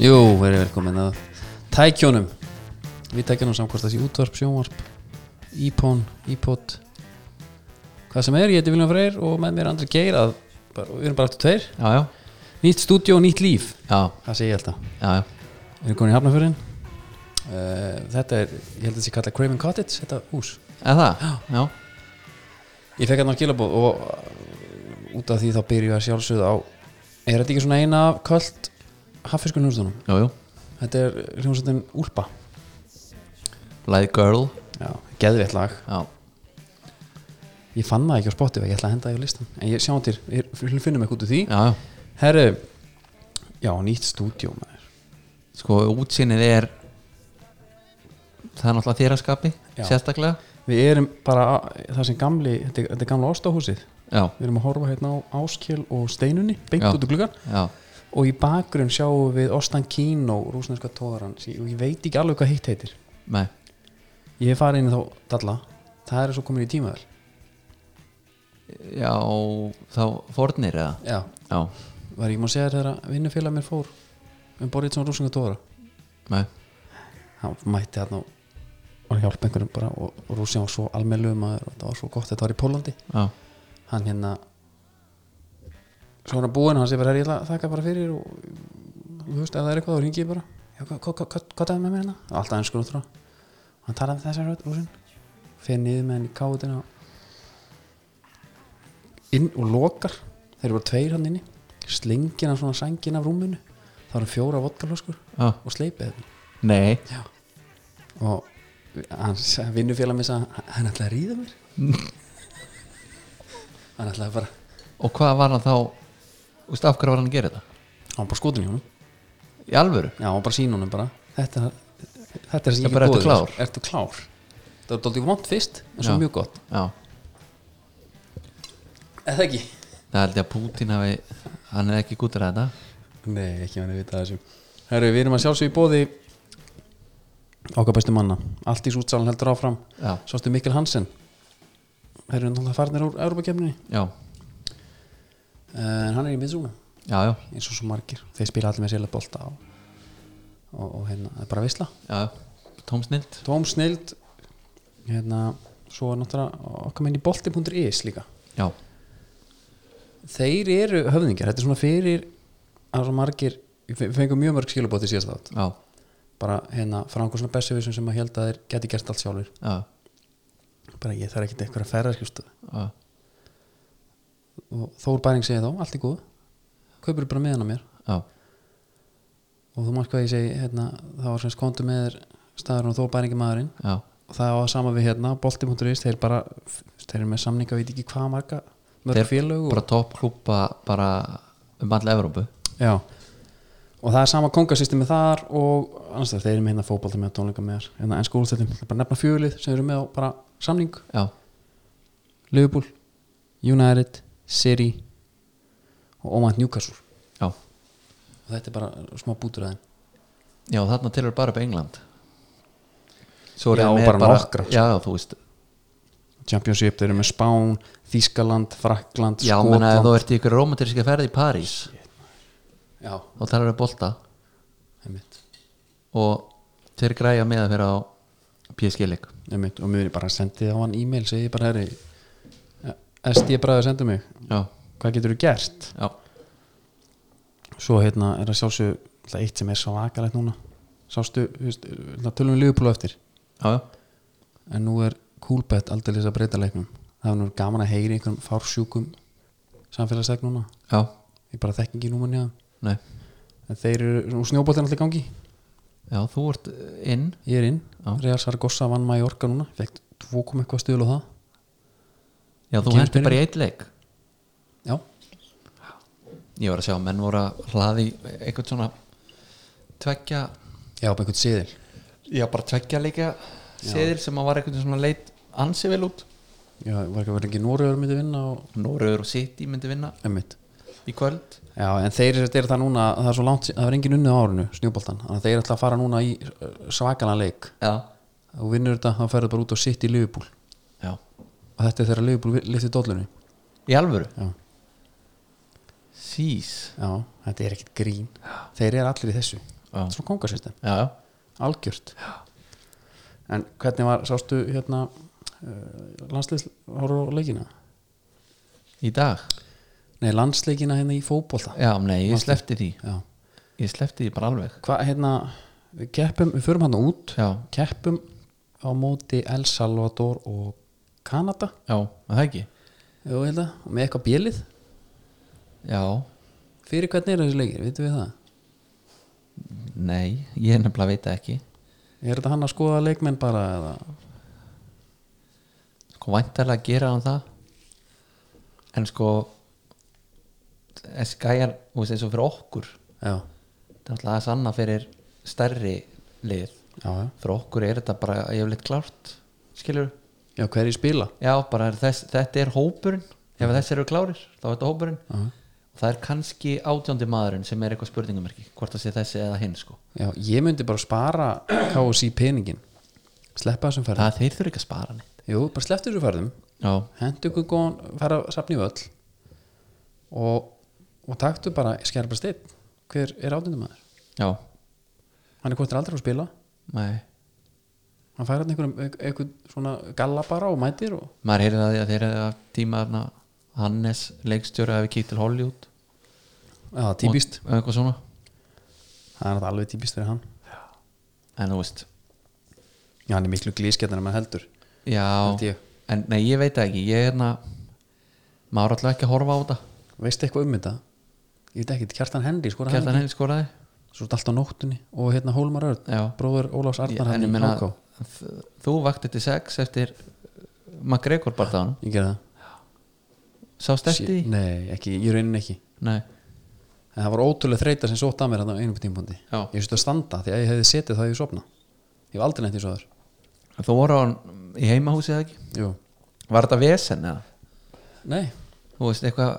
Jú, verið velkomin að tækjónum Við tækjónum samkvæmst þessi útvarp, sjónvarp, ípón, ípót Hvað sem er, ég heiti Viljum Freyr og með mér Andri Geir að bara, Við erum bara aftur tveir Já, já, Nýtt stúdíó, nýtt líf, já, það sé ég alltaf já, já. Við erum komin í Hafnafjörðin uh, Þetta er, ég held að þessi kalla Craven Cottage, þetta hús Eða það? Já, Ég fekk hann á skilabóð og uh, út af því þá byrju ég að sjálfsögða á Er þetta ekki svona eina af kvöld haffiskunum húsdunum? jú, jú Þetta er hljómsveitin Úlpa Light Girl Já, geðveitt lag Já, Ég fann það ekki á Spotify, ég ætla að henda það í listan En ég sjá til, ég við finnum eitthvað út úr því já, já Herru, já, nýtt stúdíó maður Sko, útsýnið er Það er náttúrulega þér að skapi Já. Sérstaklega Við erum bara, það sem gamli, þetta er, þetta er gamla ástahúsið Já, Við erum að horfa hérna á Áskjöl og Steinunni, beint Já. út úr gluggan já, Og í bakgrunn sjáum við Ostan Kino, rúsneska tóðaran Og ég veit ekki alveg hvað hitt heitir nei Ég hef farið inn í þá, Dalla, það er svo komin í tímavel Já, þá fornir eða Já, Já, var ég ekki má segja þér þegar að vinnufélag mér fór Um borðið svona rúsneska tóðara nei hann mætti hann og var hjálp einhverjum bara og, og Rússi var svo almennlegu maður og það var svo gott þetta var í Pólandi Já, hann hérna svo var hann búinn hann sé bara "Herri, ég ætla að þakka bara fyrir og þú veist ef það er eitthvað þá ringi ég bara já, hvað, hvað, hvað, hvað það er með mér hérna alltaf ennskur útrá hann talaði með þessar rödd Rússin fer niður með henni káðina inn og lokar þeir eru bara tveir hann inni slengir hann svona sængin af rúminu þá eru fjóra vodkalöskur já, og sleipið hérna. henni nei Já Og hans vinnufélag mér sagði hann ætlaði að ríða mér Hann ætlaði bara Og hvað var hann þá Þú veist, af hverju var hann að gera þetta? Hann var bara skotin í honum Í alvöru? Já, hann var bara sín honum bara Þetta, þetta er sem get Þetta bara, ertu boðið þér. klár? Ertu klár Það var dálítið vond fyrst En svo Já. mjög gott Já Eða ekki Það held ég að Pútín hafi Hann er ekki gútur að þetta Nei, ekki hann að vita þessu Herru, við erum að sjálfsög í bóði Okkar bestu manna Allt í sútsalan heldur áfram Já, Sástu Mikkel Hansen Þeir eru náttúrulega farnir úr Europakefninni já, En Eh, hann er í miðsúna já, já, eins og svo margir þeir spila allir með sérlega bolta og, og, og hérna, það er bara visla já. Tómsnild tóm snild hérna, svo er náttúrulega okkar meðin í bolti.is líka Já, þeir eru höfðingar, þetta er svona fyrir að svo margir, við fengum mjög mörg skilabóti síðast þátt, já, bara hérna frá einhver svona bestsefisum sem að held að þeir geti gert allt sjálfur, já, bara ég þarf ekkert eitthvað að ferða skjústu já, og Þór Bæring segir þá, allt í góð kaupur bara meðan á mér já, og þú margt hvað ég segi, hérna, það var svona skontu með þér staðurinn og Þór Bæring er maðurinn já, og það á að sama við hérna bolti.is, þeir bara þeir eru með samninga, veit ekki hvað marga mörg Þeir félög og, bara toppklúpa bara um all Evrópu já og það er sama kongasystemi þar og annars þeir, þeir eru með hérna fótbolta með tónleika með þar, hérna enn skólastetum, bara nefna fjölið sem eru með á bara samning, Já, Liverpool United, City og Oman Newcastle já, og þetta er bara smá bútur aðeins já, þarna tilur bara upp England Svo Já, hann og er bara nokkra, sko. Já, já, þú veist, Championship, þeir eru með Spán, Þískaland Frakland, já, menna ef þú ert í ykkur romantíska ferð í París já, og talar upp bolta einmitt, og þeir græja með að vera á PSG-leik einmitt og mér bara sendið á hann e-mail, segi bara herri SD bræður sendu mig Já, hvað getur þú gert já, svo hérna er það sjálfsög alltaf eitt sem er svo vakalegt núna sástu, þú veist, hérna, tölum við Liverpool á eftir já, já, en nú er Coolbet aldrei að breyta leiknum það er nú gaman að heyri einhverjum fársjúkum samfélagsleik núna já, ég bara þekki ekki númann hjá þeim. nei en þeir eru, og snjóboltin alltaf gangi Já, þú ert inn ég er inn, Já. Real Saragossa vann Mallorca núna, fekk 2,1 eitthvað stuðl og það Já, þú Kemur hendur bara í eitt leik já, Ég var að sjá, að menn voru að hlaði eitthvað svona tveggja já, bara einhvern siðil Já, bara tveggja leika seðil sem að var eitthvað svona leit ansi vel út já, var ekki að vera ekki Noregur myndi vinna og Norröður og City myndi vinna emmitt í kvöld já, en þeir eru það núna, það er svo langt sí- það er engin unnið á árinu, snjúboltan þannig að þeir ætla að fara núna í uh, svakalan leik Já, og vinnur þetta, þá ferðu bara út og sitt í Liverpool já og þetta er þeirra Liverpool litið dollunni Í alvöru? Já. Sís já, þetta er ekkit grín þeir eru allir í þessu, Já, þetta er svo kongasystem já, já. algjört en hvernig var, sástu hérna uh, landsleik horfður á leikina? Í dag? Nei, landsleikina hérna í fótbolta Já, nei, ég slefti því Já. Ég slefti því bara alveg Hvað, hérna, við keppum við förum hann út, Já, keppum á móti El Salvador og Kanada, já, er það ekki jú, ég held að, með eitthvað bjölið Já, fyrir hvernig eru þessi leikir, vitum við það nei, ég nefnilega veit það ekki er þetta hann að skoða leikmenn bara eða? Sko væntalega gera hann það En sko Þessi gæjar, þú veist, eins og fyrir okkur já, Það er alltaf að sanna fyrir stærri lið já, já, Fyrir okkur er þetta bara yfirleitt klárt Skilur já hverju spila Já, bara er þess, þetta er hópurinn Ef þess eru klárir, þá er þetta hópurinn já, og það er kannski átjóndi maðurinn sem er eitthvað spurningamerki hvort það sé þessi eða hinn sko já, ég myndi bara spara KSI peningin sleppa þessum ferðum það þeir þurfa ekki að spara neitt jú, bara slepptu þessu ferðum já, hendu ykkur góðan, fara að safna í völl og, og taktu bara, skjæra bara steinn hver er átundumæður? já, hann er hvort er aldrei að spila nei hann fær hann einhverjum einhver, einhver svona galla bara og mætir og maður heyrði að því að þeir hefði að tíma þarna Hannes leikstjóri hafi kíkt til Hollywood já, það er típist, og eitthvað svona það er náttúrulega alveg típist fyrir hann en þú veist, já, hann er miklu glískjarnar en maður heldur Held já ég. en nei, ég veit það ekki, ég er hérna maður er alltaf ekki að horfa á þetta veistu eitthvað um þetta? ég veit ekki, Kjartan Henry skora hann Kjartan Henni skoraði ekki svo er þetta allt á nóttunni og hérna Hólmar Örn já, bróður Ólafs Ég- Arnar en hann ég í meina HK þ- þú vakti til sex eftir McGregor bara þaðan, ég gerði sást það eftir því? Sí- nei, ekki, ég raunin ekki nei, en það var ótrúlega þreita sem sótt að mér hann á einum tímpúndi já ég þurfti að standa því að ég hefði setið þá hefði ég sopna ég hef aldrei neitt í svo þar Þú voru á í heimahúsið eða ekki? Jú. Var þetta vesen eða? nei, Þú veist, eitthvað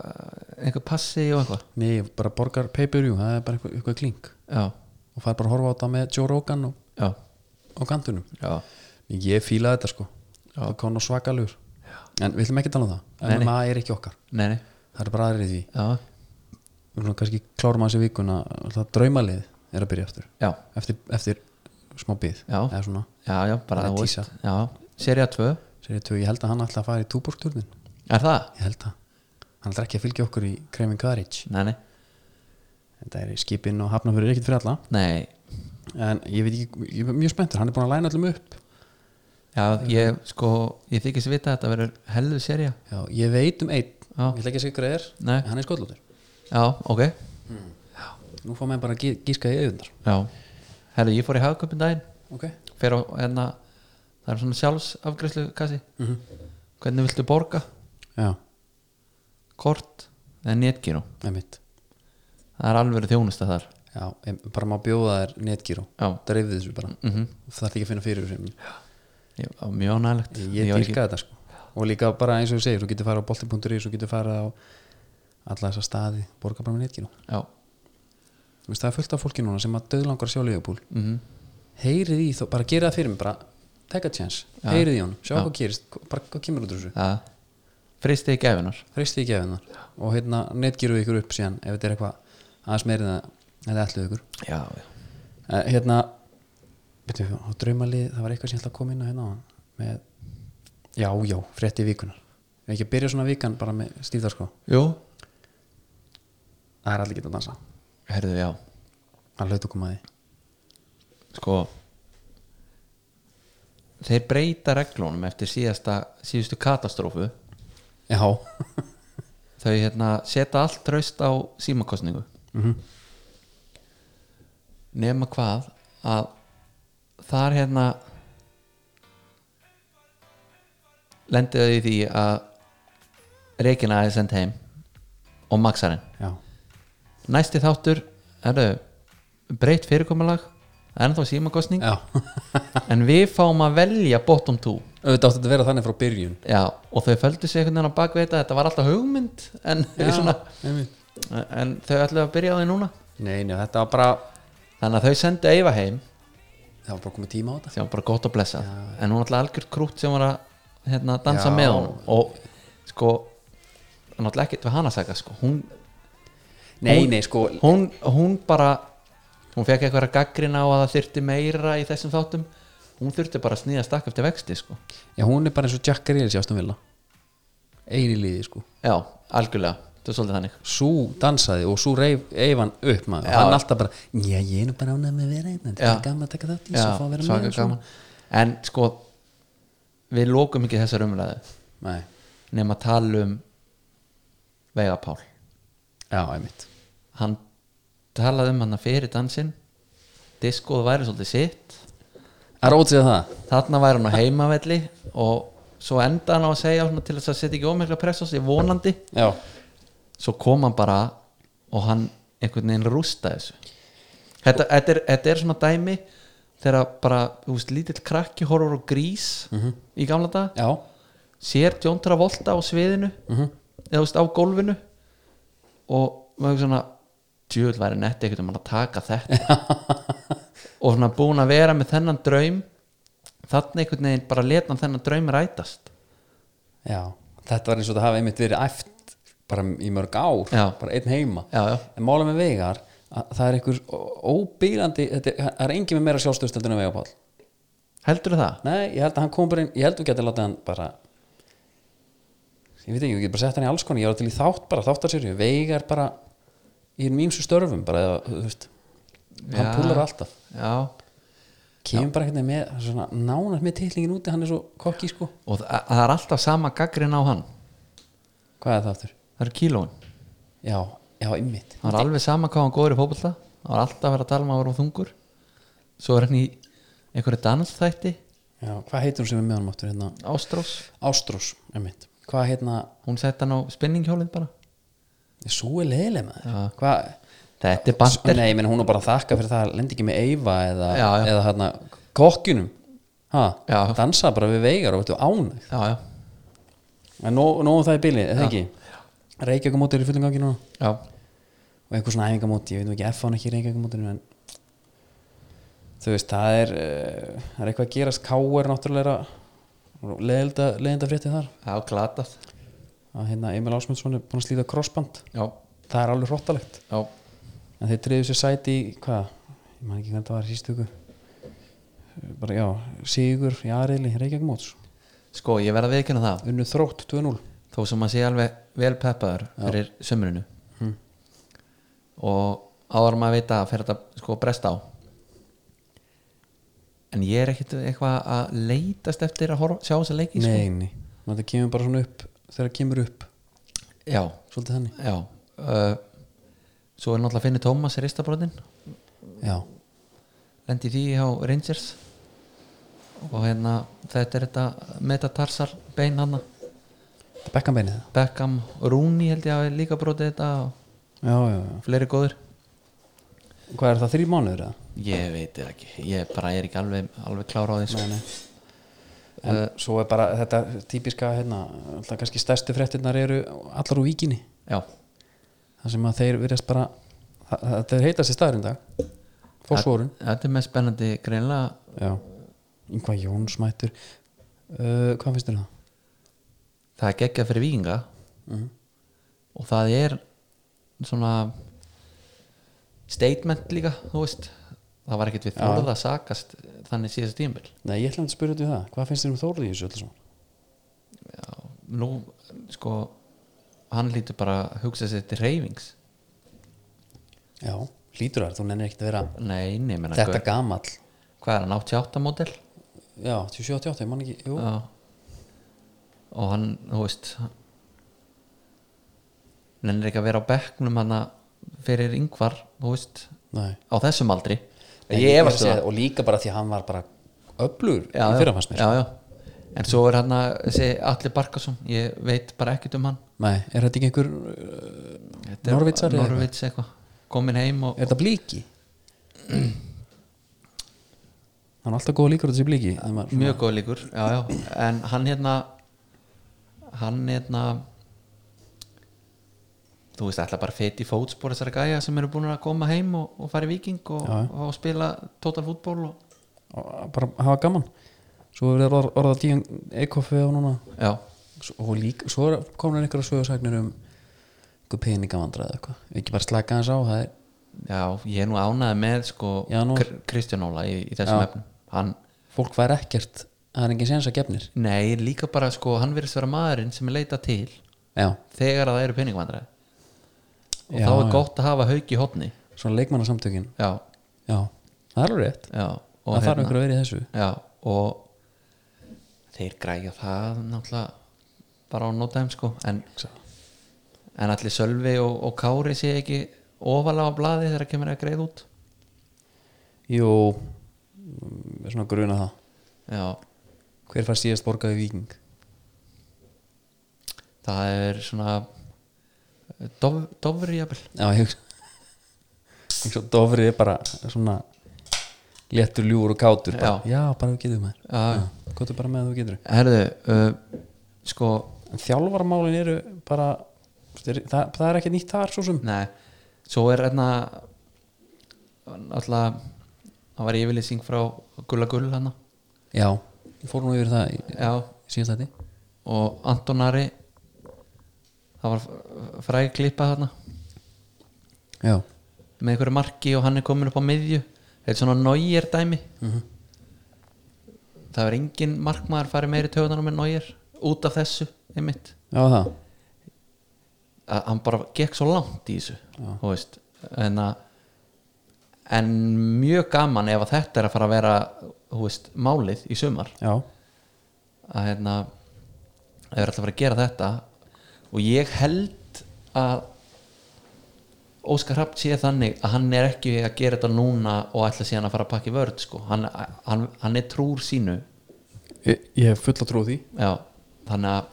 eitthvað passi og eitthvað nei, ég bara borgar pay-per-view, það er bara eitthvað, eitthvað klink Já, og fær bara að horfa á þetta með Joe Rogan og, já, og kantunum já ég fílaði þetta sko, það kom nú svakalur en við ætlum ekki að tala um það Nei, nei. en maður er ekki okkar, Nei, nei, það er bara aðrið í því já, við erum kannski klárum að þessi vikuna það draumalið er að byrja aftur já, eftir, eftir smá bið Já. eða svona, já, já bara Það er þú tísa. veist Já, serið 2 sér ég ég held að hann ætla að fara í túborgturnin Er það? ég held að, hann ætla ekki að fylgja okkur í Kreming Courage Nei, nei, þetta er í skipinn og hafna fyrir ekkert fyrir alla nei en ég veit ekki, ég er mjög spenntur hann er búin að læna öllum upp Já, ég sko, ég þykist vita að þetta verður helðu serið já, ég veit um einn, Já, ég ætla ekki að segja hver það er nei, en hann er skollóttur, já, ok nú fá maður bara að gí- gíska í auðundar Já, herru, ég fór í hagköpun daginn ok, Fer á, hérna, það er svona sjálfsafgreyslu kassi Mhm. Hvernig viltu borga? já, Kort eða netgíru? með mitt það er alveg þjónusta þar já, em, bara má bjóða þér netgíró já, dreifðu þessu bara, mm -hmm. það er ekki að finna fyrir þessu ég, á, mjög nægilegt ég dýrka þetta sko og líka bara eins og ég segir, þú getur farið á bolti.is þú getur farið á alla þessa staði borga bara með netgíró já, Þú veist, það er fullt af fólki núna sem að döðlangar sjá leifupúl mm heyrið í þó, bara gera það fyrir mig bara, take a chance, Já. heyrið í hún sjá Já. hvað gerist, hva- bara hvað kemur út úr þessu það fristi í gefinar freystið í gefinnar og hérna netgíru ykkur upp síðan ef þetta er eitthvað aðeins meirið en það ætluð ykkur já, já, Eh, hérna veitum við, á draumalið, það var eitthvað sem ég ætla að koma inn á hérna áðan, með, já, já, frétti vikunar við ekki að byrja svona vikan bara með stífðarskó jú það er allir getað að dansa, herðu, já, það hlaut okkur maður sko þeir breyta reglunum eftir síðasta, síðustu katastrófu já, þau hérna setja allt raust á símakostningu Mhm. nema hvað að þar hérna lendið þau í því að Regina er send heim og Maxarinn já, næsti þáttur er breytt fyrirkomulag ennþá símakostning já en við fáum að velja bottom 2 auðvitað átti þetta að vera þannig frá byrjun já, og þau földu sig einhvern veginn á bakvið þetta þetta var alltaf hugmynd en, Já, svona, einmitt. en þau ætluðu að byrja á því núna nei, nei, þetta var bara þannig að þau sendu Eyva heim það var bara komið tíma á þetta sem var bara gott að blessa en hún var alltaf algjör krútt sem var að hérna, dansa Já. með hún og sko það er náttúrulega ekkert við hana að segja sko. hún, nei, Hún- nei, sko, hún, hún bara hún fekk eitthvað að gaggrina á að það þyrfti meira í þessum þáttum hún þurfti bara að snýða stakk eftir vexti sko. já, hún er bara eins og Jack Grealish í Aston Villa eini liði, sko já, algjörlega, þetta er svolítið þannig svo dansaði og svo reif, eif hann upp maður Já. og hann alltaf bara, já ég er nú bara ánægð með að vera einn en þetta Já. er gaman að taka þátt í Já, þessu og fá að vera svaka með og svona. gaman. en sko við lókum ekki þessar umræðu Nei, nema að tala um Vegapál já, einmitt hann talaði um hann fyrir dansinn diskoð væri svolítið sitt Það er ótsið það þarna væri hann á heimavelli og svo enda hann á að segja svona, til þess að setja ekki ómikla press á sig vonandi Já, svo kom hann bara og hann einhvern veginn rústa þessu þetta, þetta, er, þetta er svona dæmi þegar bara, þú veist, lítill krakki horfur og grís í gamla dag já, sér John Travolta á sviðinu eða þú veist, á gólfinu og maður hugsa svona djöðl væri netti ekkert um hann að taka þetta og svona búin að vera með þennan draum þannig einhvern veginn bara leta hann þennan draum rætast já Þetta var eins og það hafi einmitt verið æft bara í mörg ár, Já. bara einn heima já, já, En mála með vegar að það er einhver ó- óbýrandi þetta er, það er engin með meira sjálfstöðstöldun en vegapál heldur það? Nei, ég held að hann kom bara inn ég held að hún geti látið hann bara ég veit ekki, ég geti bara sett hann í alls konar ég var til í þátt bara, þáttarserju, vegar bara í hinn mýmsu störfum bara, eða, þú veist, hann Já. púlar alltaf já, kemur bara eitthvað með, svona, nánar með titlingin úti, hann er svo kokki sko og það, það er alltaf sama gaggrin á hann hvað er það aftur? það eru kílóin, Já, já, ymmit það er alveg sama hvað hann góður í fótbolta það er alltaf að vera að tala um að vera þungur svo er hann í einhverju dansþætti já, hvað heitir hún sem er með honum aftur hérna? Ástrós, Ástrós, ymmit hvað hérna, hún sett hann á spinninghjólið bara svo er leiðileg með Já. þér hvað, þetta er bandir nei, ég meina hún er bara að þakka fyrir það, lendi ekki með Eyva eða, Já, já. eða hérna, kokkinum ha, Já. dansa bara við veigar og veitu ánæg já, já, en nóg, nóg um það í bili, eða ekki Reykjavíkumóti er í fullum gangi núna já, og einhver svona æfingamóti, ég veit nú ekki F án ekki í Reykjavíkumótinu en þú veist, það er eh, það er eitthvað að gerast, K er náttúrulega leðenda, leðenda fréttið þar já, glatað að hérna Emil Ásmundsson er búin að slíta crossband já, það er alveg hróttalegt já, en þeir treyðu sér sæti í, hvað, ég man ekki hvernig það var í síðstöku bara já, Sigur, Jareli, Reykjavíkumóts sko, ég verð að viðkynna það unnu þrótt 2-0 þó sem að sé alveg vel peppaður fyrir sömurinu og áður en maður veit að fer þetta sko brest á en ég er ekkit eitthvað að leitast eftir að horfa, sjá þessa leiki sko. nei, nei, það kemur bara svona upp þegar það kemur upp, já, svolítið þannig já uh, svo er náttúrulega að finna Thomas ristabrotin já, lendi því hjá Rangers og hérna þetta er þetta metatarsal bein hann bekkan beinið það Beckham Rooney held ég að hafi líka brotið þetta og já, já, já, fleiri góður hvað er það, þrý mánuður eða? Ég veit það ekki, ég bara er ekki alveg, alveg klára á því sko. Eh, nei, nei. en svo er bara þetta típiska hérna, alltaf kannski stærstu fréttinnar eru allar úr víkinni Já, þar sem að þeir virðast bara það- það- þeir heita sér staðurinn dag fórsvorun þetta er með spennandi greinlega já, yngvað Jóns mættur uh, hvað finnst þér um það? það er geggjað fyrir vikinga Mhm. og það er svona statement líka, þú veist það var ekkert við þorða að sakast þannig síðast tímbil Nei, ég ætlaði að spyrja út í það, hvað finnst þér um Þórði í þessu öllu saman? Nú, sko hann lítur bara að hugsa sér til reyfings Já, hlýtur þar, þú nennir ekkert að vera Nei, nei, menna þetta gamall hvað er hann, 88 módel? Já, 27-28, ég man ekki, jú Já. og hann, þú veist nennir ekki að vera á bekknum hann fyrir yngvar, þú veist Nei, á þessum aldri ég efast um sé- það og líka bara því að hann var bara öflugur í já, fyrra fannst mér já, já. en svo er hann að þessi Alli Barkason, ég veit bara ekkert um hann Nei, er þetta ekki einhver Þetta er- Norvitsar eða Norvits eitthvað, komin heim og, er þetta blíki? hann er alltaf góð líkur á þessi blíki þegar maður- mjög góð líkur já, já. en hann hérna hann hérna þú veist alltaf bara fett í fótspor þessara gæja sem eru búin að koma heim og, og fara í viking og, Já, já. og spila total fútból og, og bara hafa gaman svo er það orða tíðan eikoffi á núna já, Svo- og líka, svo komur einhverja sögursagnir um einhver peningavandra eða eitthvað ekki bara slaka hans á það er, já, ég er nú ánæði með sko Já, nú- Kr- Kristján Óla í, í þessum efnum hann, fólk væri ekkert það er engin séns að gefnir nei, líka bara sko hann virðist vera maðurinn sem er leitað til já, þegar að það eru peningvandræði og Já, þá er já. gott að hafa hauk í hotni svona leikmannasamtökin já, já, það er alveg rétt já og hérna- það þarf einhver að vera í þessu Já, og þeir græja það náttúrulega bara á nótæm sko en, en allir Sölvi og, og Kári sé ekki ofalega á blaði þegar það kemur að greið út jú, mm, svona gruna það Já, hver fær síðast borgaði viking það er svona eh, dof, dofri jafnvel já, ég hugsa ég svo dofrið er bara svona léttur ljúur og kátur bara. já, bara við getum það Já. gotur bara með að þú getur Herðu, uh, sko en þjálfarmálin eru bara það, það er ekki nýtt þar svo sem Nei, svo er hérna náttúrulega það var yfirlýsing frá Gulla Gull hana já, ég fór nú yfir það í Já, síðast þetta og Anton Ari það var fræg klippa þarna já, með einhverju marki og hann er komin upp á miðju þetta er svona nógir dæmi það er engin markmaður farið meiri töðanum með nógir út af þessu einmitt já það að hann bara gekk svo langt í þessu þú veist en, að, en mjög gaman ef að þetta er að fara að vera þú veist, málið í sumar já, að hérna það er alltaf að fara að gera þetta og ég held að Óskar Hrapt sé þannig að hann er ekki að gera þetta núna og ætla síðan að fara að pakki vörð sko. hann, hann, hann er trúr sínu ég, ég hef fulla trú á því já, þannig að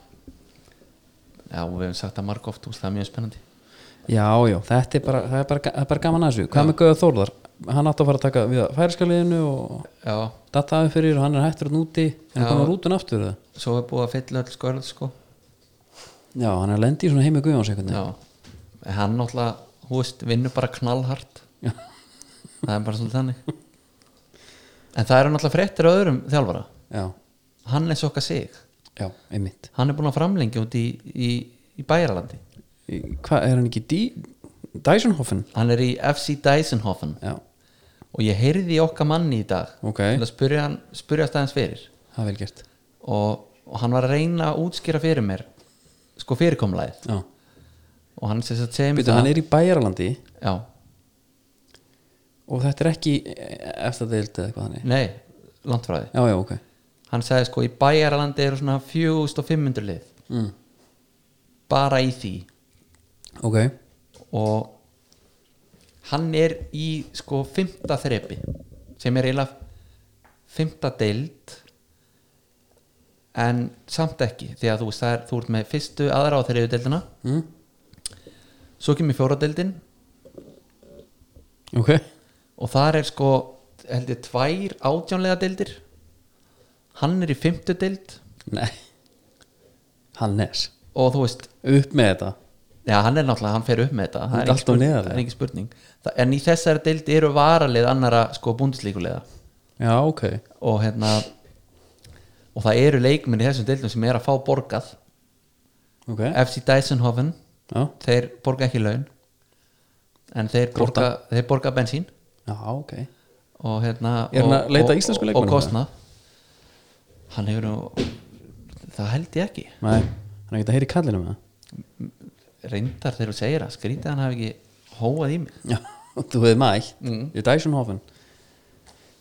já, við hefum sagt það margóft þú veist, það er mjög spennandi já, já, þetta er bara, það er bara, það er bara gaman að þessu hvað með Gauða Þórðar, hann átti að fara að taka við færiskaliðinu og já, dattaði fyrir og hann er hættur að núti en Já. hann er rútun aftur það svo er búið að fylla öll skörð sko. já, hann er að lendi í svona heimi Guðjóns einhvern já, En hann náttúrulega, hú veist, vinnur bara knallhart Já. það er bara svolítið þannig en það eru náttúrulega fréttir á öðrum þjálfara veginn já, Hannes okkar sig já, einmitt hann er búin að framlengja út í, í, í bæjarlandi Í- hvað, er hann ekki D Dysenhofen? hann er í FC Dysenhofen já, og ég heyrði í okkar manni í dag Ok. til að spurja, hann, spurja staðins fyrir það er vel gert og, og hann var að reyna að útskýra fyrir mér sko fyrirkomlæð já, og hann sem sagt segir mér býtu, hann er í Bæjaralandi já, og þetta er ekki eftir deild eða eitthvað þannig nei, landfræði já, já, ok hann sagði sko í bæjarlandi eru svona 4500 lið mm. bara í því ok, og hann er í sko fymta þrepi sem er eiginlega fymta deild en samt ekki því að þú, veist, það er, þú ert með fyrstu aðra á þreju deildina mm. svo kemur fjóra deildin ok og þar er sko heldur tvær átjánlega deildir hann er í fymtu deild nei Hannes, og þú veist upp með þetta Já, hann er náttúrulega, hann fer upp með þetta Það Hann er er engin alltaf spurning, neðarlega. það er engin spurning. Þa, En í þessari deildi eru varalið annara sko búndislíkulega já, ok, og hérna og það eru leikmenn í þessum deildum sem er að fá borgað ok FC Dysenhofen, já, þeir borga ekki laun en þeir Grótta. borga, þeir borga bensín já, ok og hérna Er hann að og- leita og- íslensku og- leikmönnum, og kostnað hann hefur nú það held ég ekki nei, hann er ekki að heyri kallinu með það reyndar þegar þú segir að skrítið hann hafi ekki hóað í mig já, þú hefði mætt Mm. í Dysenhofen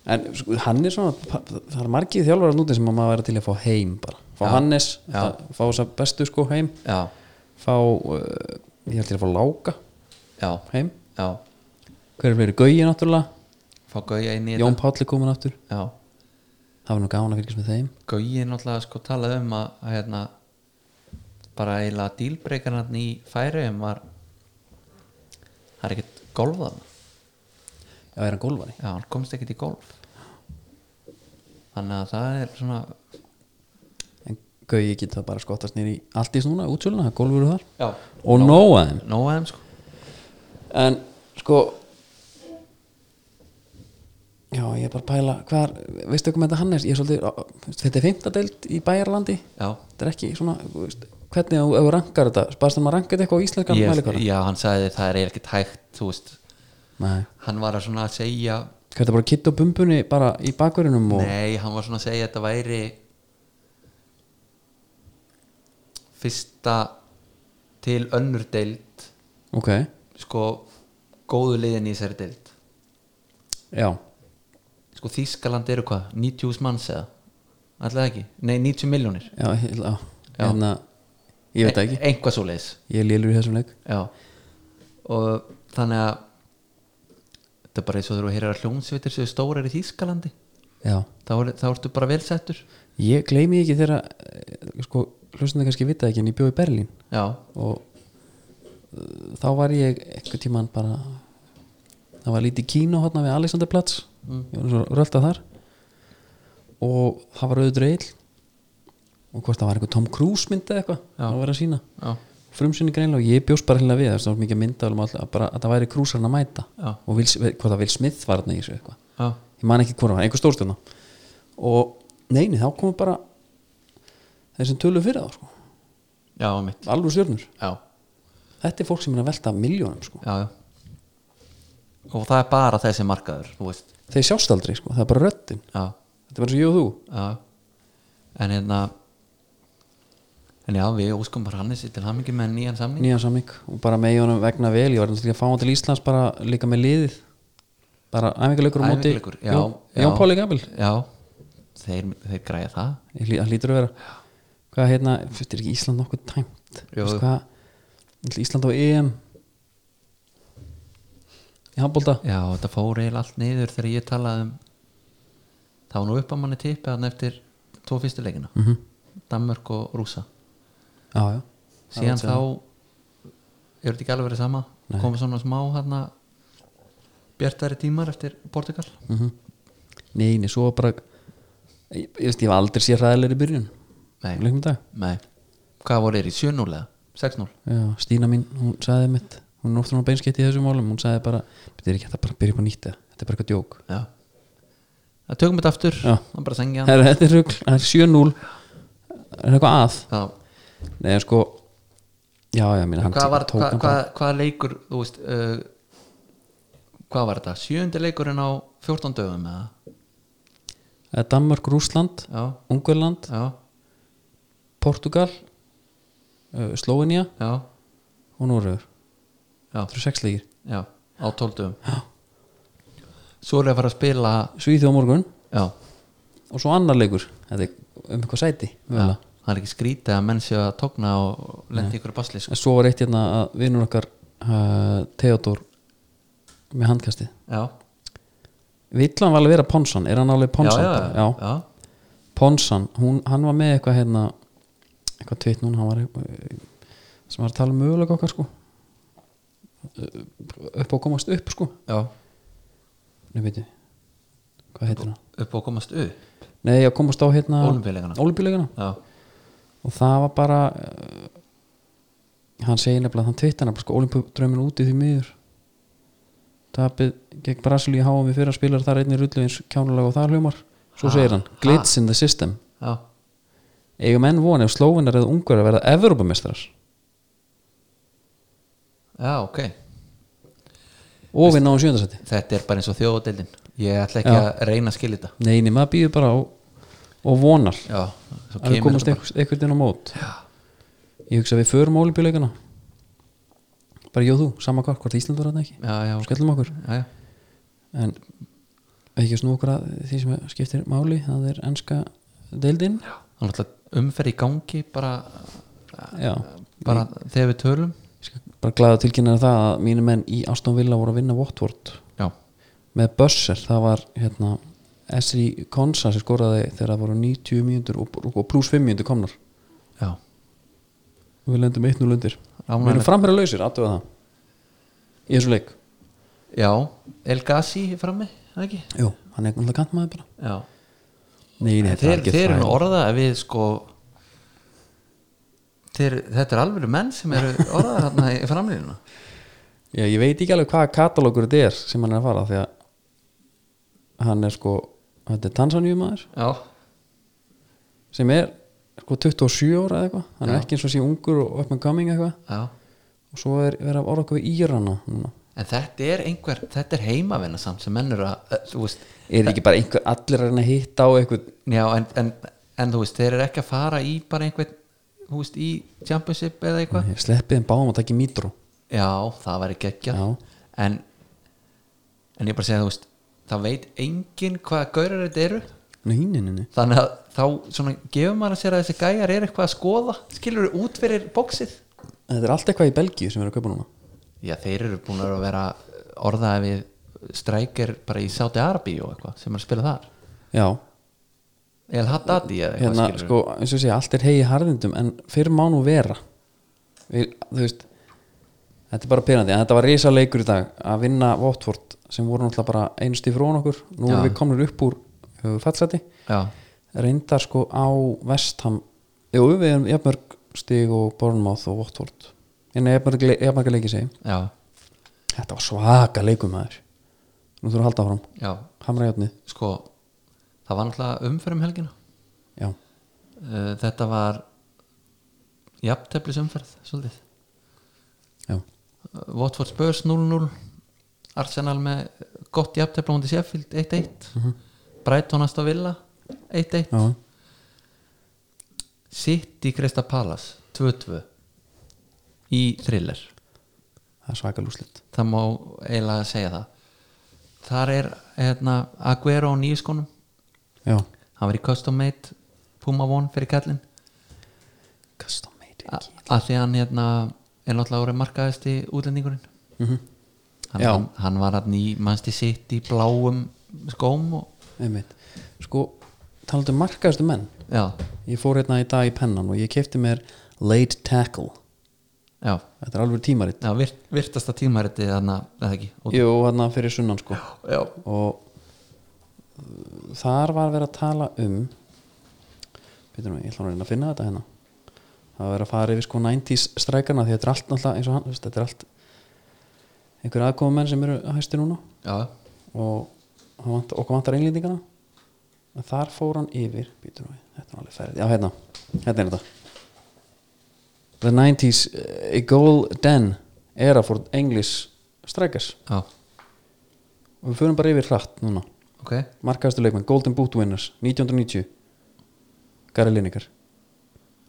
en sko, hann er svona pa- það er margið þjálfara núti sem að maður verið til að fá heim bara, fá Já. Hannes Já. að fá þess að bestu sko heim já, fá, uh, ég held til að fá Láka já, heim já hver er fleiri Gauji náttúrulega fá gauja inn í Jón Páll er komin aftur þetta já það var nú gáðan að fylgjast með þeim Gauji náttúrulega sko talaði um að, að hérna, bara eiginlega dílbreykarnarn í færiðum var það er ekkert golf þarna já, er hann gólfari? já, hann komst ekkert í golf þannig að það er svona en Gauji geta bara skottast nýri allt í snúna, útsöluna, gólfur og þar já, og nóa þeim nóaðum sko en sko já, ég er bara að pæla hvar, veistu ekki með þetta Hannes ég er svolítið, á- á- þetta er fimmtadeild í bæjarlandi já, þetta er ekki svona, þú veist, hvernig þú- ef þú rankar þetta, spast þannig að ranka þetta eitthvað á íslenskan yes, ég, mælikvara já, hann sagði það er eiginlega ekkert hægt þú veist, nei, hann var að svona segja hvað þetta bara kitt og bumbunni bara í bakverjunum og Nei, hann var svona að segja að þetta væri fyrsta til önnur deild ok, sko góðu liðin í þessari deild já, sko Þískaland eru hvað, 90 manns eða alltaf ekki, nei 90 miljónir já, ég- já. Hérna, ég veit það ekki, einhvað svo leiðis ég er lélur í þessum leik E, já og þannig að þetta er bara eins og þegar þú heyrir að hljómsveitir séu stórar í Þískalandi já, þá, er, þá ertu bara vel settur ég gleymi ekki þegar eh, sko, hlustandi kannski vita ekki en ég bjó í Berlín já, og uh, þá var ég einhvern tímann bara það var lítið kínu hátna við Alexanderplatz Mm. ég var svo rölda þar og það var auðvitað reyl og hvort það var einhver Tom Cruise mynd eða eitthvað Já. það var að sína já, frumsynni greinlega og ég bjóst bara hérna við það var mikið mynda um alltaf, bara, að það væri Cruiserinn að mæta Já. og vil, hvort það vil Smith var þarna í þessu eitthvað já, ég man ekki hvort það var, einhver stórstjörna og neini, þá komu bara þessum tölu fyrir það sko. já, mitt alveg stjörnur já Þetta er fólk sem er að velta miljónum sko. já, já. og það er bara þessi markaður þú veist Þeir sjást aldrei, sko. það er bara röddin já, Þetta er bara eins og ég og þú já. en hérna en já, við óskum bara Hannesi til hamingi með nýjan samning Nýjan samning og bara með honum vegna vel Ég var náttúrulega að fá hann til Íslands bara líka með liðið Bara æfingarleikur á móti Æfingarleikur, já, Jón, já. Jón Páli Gabel já, þeir, þeir græja það Það hlýtur að vera Hvað hérna, þetta er ekki Ísland nokkuð tæmt Jú. Veistu hvað? Ætli Ísland á EM Í handbólta já, þetta fór eiginlega allt niður þegar ég talaði um það var nú upp að manni tippi hann eftir tvo fyrstu leikina mm -hmm. Danmörk og Rúsa Já, já síðan þá er þetta ekki alveg verið sama komið svona smá hérna bjartari tímar eftir Portugal mm Nei, nei, svo bara Ég, ég veist, ég var aldrei sér hræðilegri í byrjun nei, Leikum dag Nei, hvað voru þeir í 7-0 eða? 6-0? Já, Stína mín, hún sagði mitt hún er ofta beinskeitt í þessum málum hún sagði bara, þetta er ekki hægt að bara byrja upp á nýtt eða. þetta er bara eitthvað djók Já Það tökum þetta aftur, Já. það er bara að sengja hann Her, þetta er rugl, það er 7-0 er eitthvað að Já, Nei, en sko, já, já, mín hann hvað var, tók hvað, hann hvað, bara hvað leikur, þú veist uh, hvað var þetta? Sjöundi leikurinn á 14 dögum eða? Eh, Danmörk, Rússland, Já, Ungverland já, Portugal uh, Slovenia já, og Núröður Já. það eru sex leikir já á 12 dögum Já Svo er að fara að spila Svíþjóð á morgun Já, og svo annar leikur þetta er um eitthvað sæti já. mögulega. það er ekki skrítið að menn séu að tókna og lendi ykkur basli sko. en svo var eitt hérna að vinnur okkar uh, Theodor með handkastið Já, Vill hann var alveg vera Ponsan, er hann alveg já, Ponsan? já, bara? já, já. Ponsan, hún, hann var með eitthvað hérna, eitthvað tvitt núna hann var, eh, sem var að tala um mögulega okkar sko Eh, upp og komast upp sko já, Nei, veitu, hvað heitir hann? upp og komast upp Nei, að komast á hérna Ólympíuleikana. Ólympíuleikana. Já, og það var bara uh, hann segir nefnilega að hann tvitt hann sko, olimpíudraumin úti því miður tapið gegn Brasilíu háum við fyrir að spila þar einnig rullu eins kjánulega og það hljómar svo Ha? segir hann, glitz in the system já eigum enn voni ef slóvinar eða ungar að verða Evrópamestrar Já, ok og vinna á sjöndarsætti Þetta er bara eins og þjóðadeildin Ég ætla ekki Já. að reyna að skilja þetta neini, maður býður bara og, og vonar Já, svo að við kemur komast þetta bara einhvers- einhvern veginn á mót ég hugsa að við förum olimpíuleikana bara ég og þú, sama hvað, hvort Ísland var þarna ekki Já, já, ok skellum okkur já, já. en ekki snú okkur að því sem skiptir máli það er enska deildin já, Það er náttúrulega umferð í gangi bara, já. bara þegar við tölum um Ég skal bara glæða tilkynna þér það að mínu menn í Aston Villa voru að vinna Watford Já, með Bösser, það var hérna Esri Konsa sem skoraði þegar það voru 90 mínútur og, og pluss 5 mínútur komnar já, og við lendum 1-0 undir við Ánægilegt. erum framherra lausir, aðtöfa það í þessu leik já El Gassi er frammi, er það ekki Jú, hann er náttúrulega kantmaður bara já, Nei, nei, það er þeir, ekki þeir eru nú það. orða að við sko þeir, þetta er alveg menn sem eru orðaðar hérna í framlýnuna Já, ég veit ekki alveg hvaða katalógur þetta er sem hann er að fara því að hann er sko, þetta er Tansaníumaður já, sem er sko 27 ára eða eitthvað hann er ekki eins og sé ungur og up and coming eitthvað já og svo er verið að orða okkur við Írana núna. en þetta er einhver, þetta er heimavinna samt sem menn eru að, þú veist er ekki bara einhver allir að reyna að hitta á eitthvað já, en, en, en þú veist, þeir eru ekki að fara í bara einhvern, þú veist, í championship eða eitthvað sleppið en báum og takk í mítró Já, það væri geggja Já. en, en ég bara segja þú veist það veit enginn hvaða gaurar þetta eru nýninni þannig að þá svona gefur maður að sér að þessi gæjar er eitthvað að skoða skilur þau út fyrir bóksið þetta er allt eitthvað í Belgíu sem við erum að kaupa núna Já, þeir eru búin að vera orðaði við strækir bara í Saudi Arabi og eitthvað sem er að spila þar já, El Haddadi eða eitthvað hérna skilurðu. sko eins og sé allt er hegi harðindum en fyrir má nú vera við, þú veist þetta er bara pyrrandi, en þetta var risa leikur í dag að vinna Votford sem voru náttúrulega bara einu stíf frón okkur, nú erum Já. við komnir upp úr uh, fallseti, Já, reyndar sko á Vestham, jú við erum jafnmörg stíg og Bournemouth og Votford en jafnmörg leiki segi já, þetta var svaka leikum maður nú þurfum við að halda áfram, já hamra hjáttni sko, það var náttúrulega umferð um helgina já, uh, þetta var jafnteflis umferð svolítið já, Uh, Watford Spurs 0-0 Arsenal með gott jafntefla hundi Sheffield 1-1 Brighton Aston Villa 1-1 já City Crystal Palace 2-2 í thriller það er svaka lúslit það má eiginlega segja það þar er hérna, Aguero á nýjuskonum já, hann var í custom made Puma One fyrir kallinn custom made a- að því hann hérna, er náttúrulega orðið markaðist í útlendingurinn hann, Já. hann, hann var hann í mannstu sitt í bláum skóm og, einmitt sko, talaðu um markaðustu menn já, ég fór hérna í dag í pennan og ég kefti mér late tackle já, þetta er alveg tímaritt já virt, virtasta tímariti þannig að það ekki og, jú, hérna fyrir sunnan sko já, og uh, þar var verið að tala um veitum við, ég ætla nú að reyna að finna þetta hérna það var verið að fara yfir sko 90s strækarna því þetta er allt náttúrulega eins og hann þú veist, þetta er allt einhver aðkofumenn sem eru að hæsti núna já, og hann vant, okkur vantar einlýtingana en þar fór hann yfir býtum við, þetta er alveg ferð já, hérna, hérna er þetta The 90s uh, a golden era for English strikers já, og við förum bara yfir hratt núna ok markaðastu leikmenn, Golden Boot winners 1990 Gary Lineker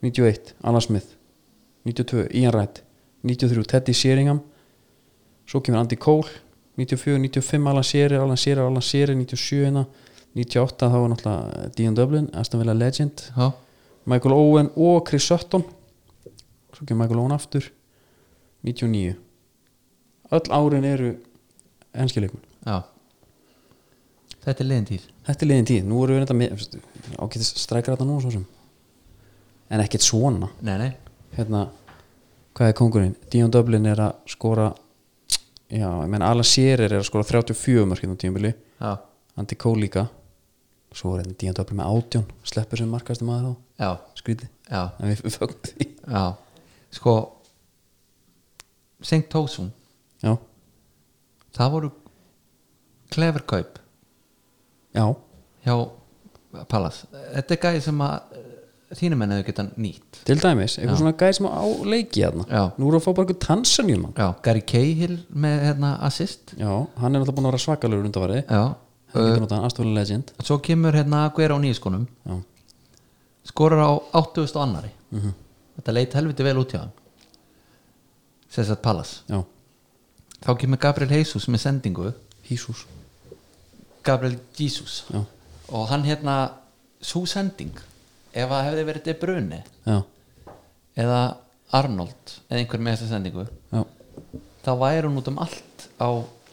91, Alan Smith 92, Ian Wright 93, Teddy Sheringham svo kemur Andy Cole 94, 95, Alan Shearer, Alan Shearer Alan Shearer, 97 hérna 98, þá var náttúrulega Dean Dublin Aston Villa Legend, já, Michael Owen og Chris Sutton svo kemur Michael Owen aftur 99 öll árin eru enski leikmenn já þetta er liðin tíð Þetta er liðin tíð, nú erum við reynda með ágætis strækar þetta nú svo sem en ekkert svona nei, nei, hérna, hvað er kongurinn? Dion Dublin er að skora já, ég menn Alan Shearer er að skora 34 mörk hérna á tímabili, já, Andy Cole líka svo er hérna Dion Dublin með átjón sleppur sem markastu maður þá, já, skrýti já, en við fögnum því já sko Sengt Tósum Já, það voru klefurkaup já, hjá Pallas þetta er gæði sem að eh, þínum menn hefur getað nýtt til dæmis eitthvað svona gæð sem á leiki hérna Já. nú erum við að fá bara eitthvað tansanjum já, Gary Cahill með hérna, assist Já, hann er alltaf búin að vera svakalur undanvarði, já, hann Uh. getur notað hann Astóli Legend svo kemur hérna Guera á nýjaskonum Já, skorar á 80 og annari þetta leit helviti vel út hjá hann sem sagt Pallas já, þá kemur Gabriel Jesus með sendingu Hísús Gabriel Jesus Já, og hann hérna, svo sending ef það hefði verið De Bruyne já, eða Arnold eða einhver með þessa sendingu já, þá væri hún út um allt á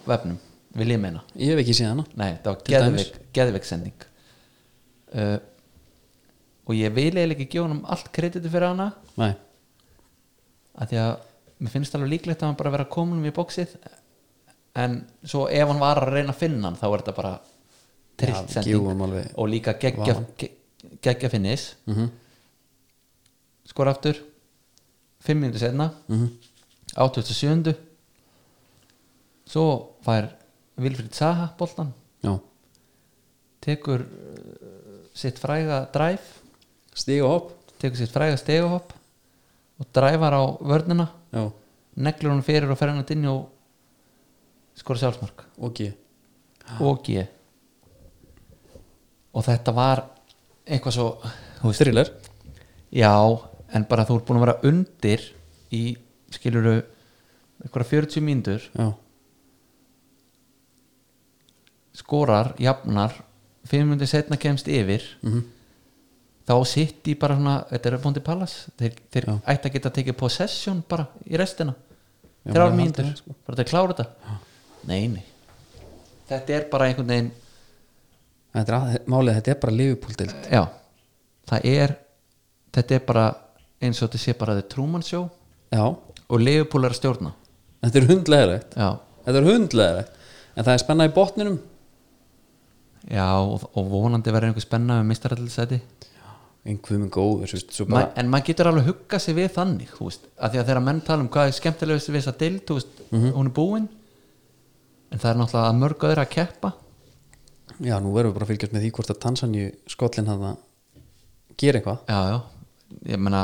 vefnum vil ég meina ég hef ekki séð hana Nei, það var Til dæmis. geðveik, geðveik sending uh, Og ég vil eiginlega ekki gefa honum allt krediti fyrir hana Nei, að Því að mér finnst alveg líklegt að hann bara vera kominum í bóksið En svo ef hann var að reyna að finna hann þá er þetta bara Já, trillt gefum honum sending alveg Og líka geggja, vaðan. ge- geggja finnis mm -hmm. Skor aftur Fimm mínútur setna Mm 87. Svo fær Vilfrid Saha boltan já tekur uh, sitt fræga dræf Stíg og hopp tekur sitt fræga steguhopp og dræfar á vörnina Já, neglur hún fyrir og fer hann að dinja og skora sjálfsmark ok og G og þetta var eitthvað svo þú veist, Thriller já, en bara þú ert búin að vera undir í skiluru eitthvað 40 mínútur Já, skorar, jafnar 500 setna kemst yfir mm þá sitt í bara svona þetta er bóndi palas þeir, þeir Já. ætti að geta að tekið possession bara í restina Já, þrjár maður mínútur, haldi það, sko. bara til að klára þetta nei, nei þetta er bara einhvern veginn þetta er að, málið, þetta er bara liðupúldild já, það er þetta er bara eins og þetta sé bara The Truman Show Já, og Leopold er að stjórna þetta er hundlegarægt já, Þetta er hundlegarægt En það er spenna í botninum já og, og vonandi verður einhver spenna um með mistarallisæti Einhver minn góður, svo, svo Ma, bara en maður getur alveg huggað sér við þannig þú veist, að því að þegar menn tala um hvað er skemmtilegust við þess að deild, þú veist, hún er búin en það er náttúrulega að mörg öðru að keppa Já, nú verðum við bara að fylgjast með því hvort að Tansanju skollin hann gera eitthvað já, já, ég meina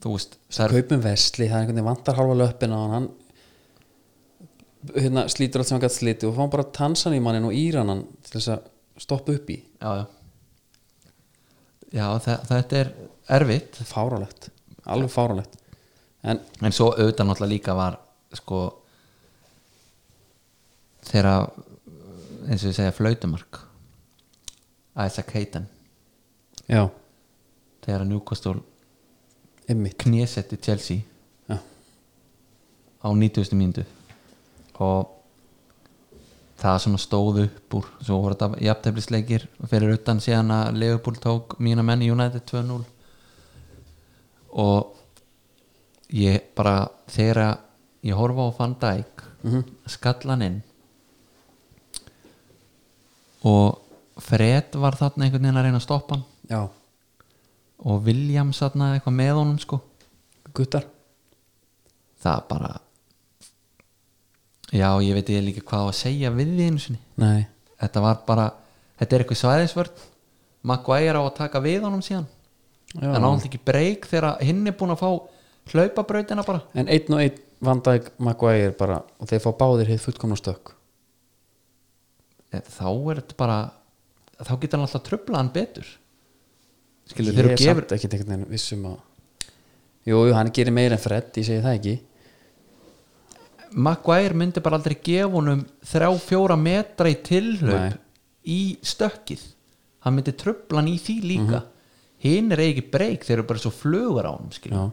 þú veist, það er, kaupum vesli, það er einhvern veginn vantar halva löppin á hann, hann hérna, slítur allt sem hann gætt slíti og fáum bara Tansanímannin og Íranan til þess að stoppa upp í já, já já, það, þetta er erfitt, fárálegt, alveg fárálegt en en svo auðvitað náttúrulega líka var, sko þegar að, eins og ég segja flautumark Isaac Hayden já, þegar að Newcastle ymmit knésetti Chelsea já, á 90. mínútu og það svona stóð upp úr svo voru þetta jafnteflisleikir fyrir utan síðan að Leopold tók mína menn í United 2-0 og ég bara þegar að ég horfa á Van Dijk skallan inn og Fred var þarna einhvern veginn að reyna að stoppa hann já, og William þarna eitthvað með honum sko guttar það bara já, ég veit ég líka hvað á að segja við því einu sinni nei, þetta var bara, þetta er eitthvað svæðisvörð Maguire á að taka við honum síðan já. en ánþví ekki breyk þegar hinn er búin að fá hlaupabrautina bara en einn og einn vandæk Maguire bara og þeir fá báðir hitt fullkomna stökk Eh, þá er þetta bara þá getur hann alltaf tröfla hann betur skilur þeir eru ég gefur samt ekki einhvern veginn vissum að jú, jú, hann gerir meira en Fred, ég segi það ekki Maguire myndi bara aldrei gefa honum þrjá fjóra metra í Nei. tilhlaup í stökkið hann myndi tröfla hann í því líka Mhm. hinn er ekki breyk þeir eru bara svo flugur á honum skilur. já,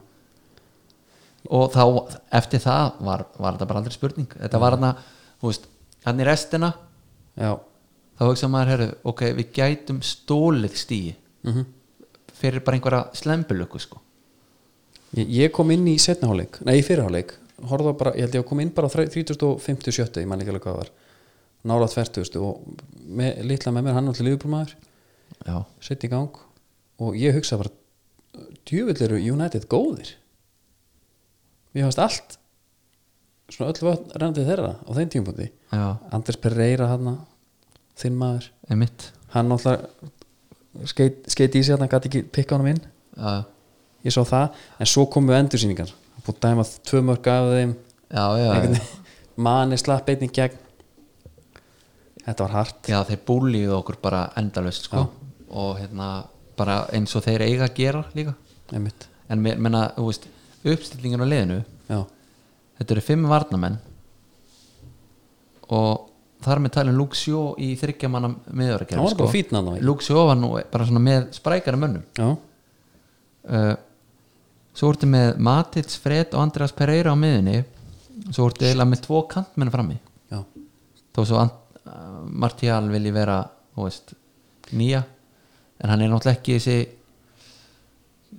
og þá eftir það var, var þetta bara aldrei spurning þetta var hann þú veist, hann í restina já, þá hugsa maður, herru, ok, við gætum stólið stíi mhm fyrir bara einhverja slembulöku sko. Ég, ég kom inn í setnaháleik, nei í fyrraháleik horfða bara, ég held ég að kom inn bara á 30.57, ég man ekki alveg hvað það var nála 20.000 og með, litla með mér hann allir liðbúrmaður já, sett í gang og ég hugsa bara djúvill eru United góðir mér fannst allt svona öll vatn rennandi þeirra á þeim tímpúndi já, Anders Pereira hann þinn maður, emitt hann náttúrulega skeit, skeit í sig hann gæti ekki pikka honum inn já, ég sá það, en svo komu endursýningar það er búið að dæma tvö mörg af þeim já, já, já. ja. manni slapp einnig gegn þetta var hart já þeir búlíðu okkur bara endalust sko. og hérna bara eins og þeir eiga að gera líka einmitt, en mér menna, þú veist, uppstillingin á liðinu já, þetta eru fimm varnamenn og þar með talin Luke Sjó í þryggjamanna það miðurkjörn var bara fítna þannig sko. Luke Sjó var nú bara svona með sprækara mönnum já, uh, svo ertu með Matils, Fred og Andreas Pereira á miðunni svo ertu eiginlega með tvo kantmenn frammi já, þó svo Ant- uh, Martial vilji vera þú veist, nýja en hann er náttúrulega ekki þessi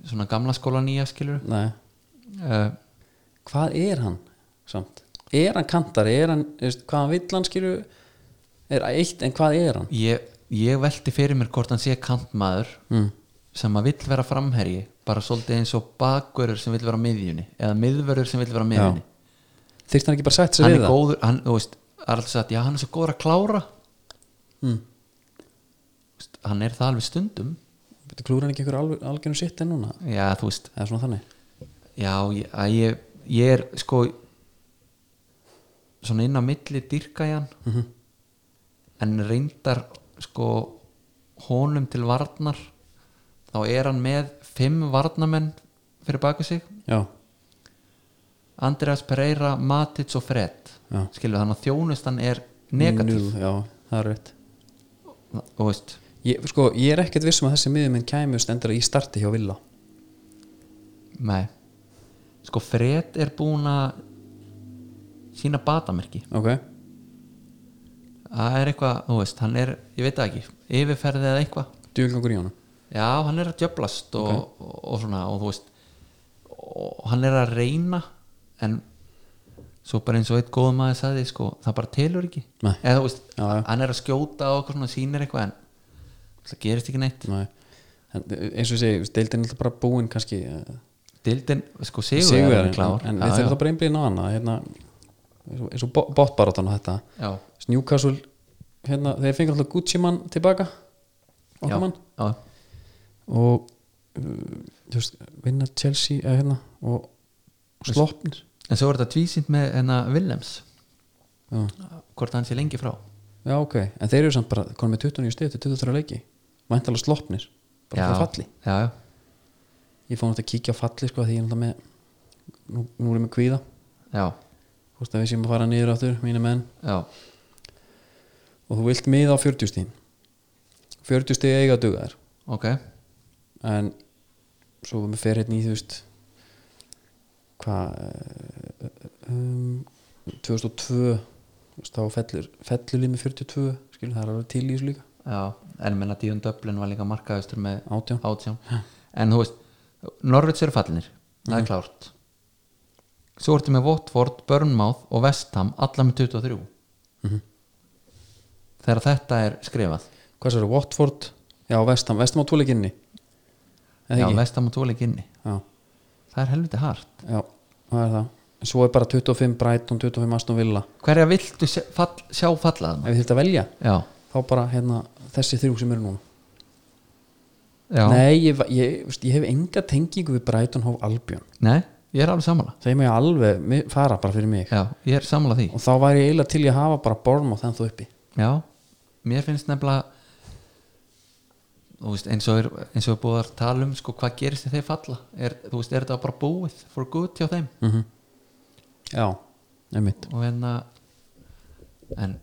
svona gamla skóla nýja skilur Nei. uh, hvað er hann samt? Er hann kantari? Er hann, þú veist, hvað hann vill hann skilju? Er eitt, en hvað er hann? ég, ég velti fyrir mér hvort hann sé kantmaður Hmm. mm. sem að vill vera framherji bara svolítið eins og bakverður sem vill vera á miðjunni eða miðverður sem vill vera á miðjunni Þyrst hann ekki bara sætt sér hann við er það? góður, hann, þú veist Arnold sagði, já, hann er svo góður að klára Mm. Þú veist, hann er það alveg stundum Bíddu, Klúrar hann ekki ykkur alveg, algjörnum sitt en núna? já, þú veist, Eða svona þannig? já, ég, að ég, ég er sko svona inn á milli dyrka í hann -hmm. en reyndar sko honum til varnar þá er hann með fimm varnamenn fyrir baku sig Já, Andreas Pereira, Matic og Fred Já. skilur þannig að þjónustan er negatív Null, já, það er rétt og veist, ég, sko, ég er ekkert vissum að þessi miðjuminn kæmi stendur í starti hjá Villa Nei Sko Fred er búin að sína batamerki ok, Það er eitthvað, þú veist, hann er, ég veit það ekki yfirferði eða eitthvað djúlgangur í honum Já, hann er að djöflast og, og, og svona, og þú veist og hann er að reyna en svo bara eins og eitt góðum maður sagði, sko, það bara telur ekki Nei. eða þú veist, Já, já. hann er að skjóta og eitthvað svona sýnir eitthvað en það gerist ekki neitt Nei. En, e, eins og ég segi, deildin er náttúrulega bara búin kannski eh, Dildin, sko, sigur, sigur en, klár en já, þetta er já, það bara einblíðin á hana hérna, eins og- eins og bóttbarátan og þetta já, Newcastle, hérna, þeir fengur alltaf Gucci mann tilbaka já, okkar mann já, og uh, þú veist, vinna Chelsea eða, hérna, og sloppnir En svo er þetta tvísýnt með hennar Willems já. Hvort hann sé lengi frá já, ok, en þeir eru samt bara konum með 29 stið til 23 leiki væntalega sloppnir, bara það falli já, já. ég fór náttúrulega að kíkja á falli sko, því ég er náttúrulega með nú, nú erum við kvíða, já, þú veist að við séum að fara niður áttur, mínu menn já, og þú vilt miða á 40 stíðin 40 stíði eiga að duga þér ok en svo við fer hérna í þú veist hvað eh, um, 2002 þú veist, þá fellur fellur lími 42 skilur það er alveg til í þessu líka já. En menna Díun Döblin var líka markaðustur með átján átján En þú veist, Norvits eru fallinir Það er klárt Svo ertu með Votford, Burnmouth og Vestham alla með 23 Þegar þetta er skrifað hvað sér, Watford, já Vestam Vestam á tóleikinni Já, já, Vestham og Tóleik inni já, Það er helviti hart já, það er það en svo er bara 25 Brighton, 25 Aston Villa Hverja viltu sjá, fall, sjá fallaðna? ef þið þurft að velja, Já, þá bara hérna þessi þrjú sem eru núna já nei, ég, va- ég, veist, ég hef enga tengingu við Brighton Hove Albion Nei, ég er alveg sammála þeir mjög alveg mi- fara bara fyrir mig Já, ég er sammála því og þá væri ég eiginlega til í að hafa bara Bournemouth en þú uppi Já, mér finnst nefnilega þú veist, eins og er, eins og er búið að tala um sko, hvað gerist þegar þeir falla er, þú veist, er þetta bara búið for good hjá þeim mm -hmm. já, einmitt og hérna en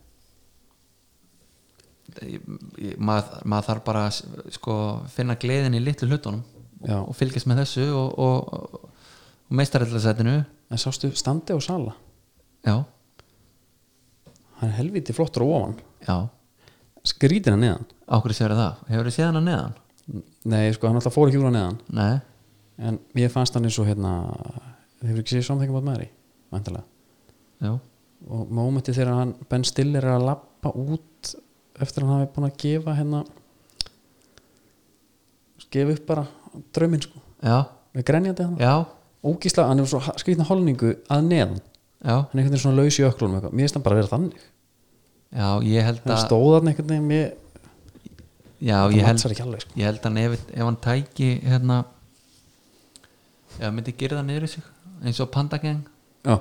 ég- ég- maður, maður þarf bara að sko, finna gleðin í litlu hlutunum Já. og fylgjast með þessu og, og, og, og meistarellasætinu en sástu standi og sala já, hann er helviti flottur á ofan já, skrítir hann neðan á hverju séu það hefur þið séð hana neðan? nei, sko, hann alltaf fór ekki úr hann neðan Nei, en ég fannst hann eins og hérna þið hefur ekki séð samþengi bótt meðri vantilega já og mómenti þegar hann Ben Stiller er að lappa út eftir að hann hafi búin að gefa hérna gefa upp bara drauminn sko Já, við grenjandi hann já, ógísla, hann er svo skrýtna holningu að neðan já hann er einhvern veginn svona laus í öklunum eitthvað. mér finnst hann bara að vera þannig Já, ég held hann að stóð hann einhvern veginn mér, Já, það ég held, matsar ekki alveg sko. ég held hann ef, ef hann tæki hérna ef hann myndi gyrða niður í sig eins og pandageng já,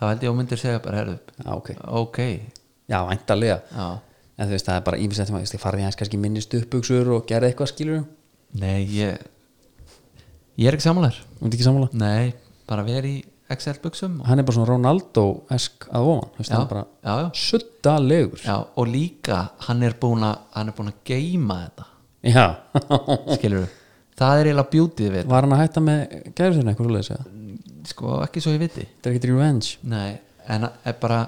þá held ég að hún myndi segja bara herðu já, ok, ok, já, væntalega já en þú veist, það er bara ímest eftir maður farið hans kannski minnist uppbuksur og gerði eitthvað skilur þú Nei, ég ég er ekki samanlegar veit ekki sammála Nei, bara veri í Excel-buxum og, hann er bara svona Ronaldo-esk að ofan þú veist, já, hann er bara já, já, suttalegur já, og líka hann er búin að hann er búin að geyma þetta já, skilur það er eiginlega beautyð við var hann að hætta með gerður þinn eitthvað svoleiðis eða? þetta. sko, ekki svo ég viti þetta er ekkert revenge Nei, en að- er bara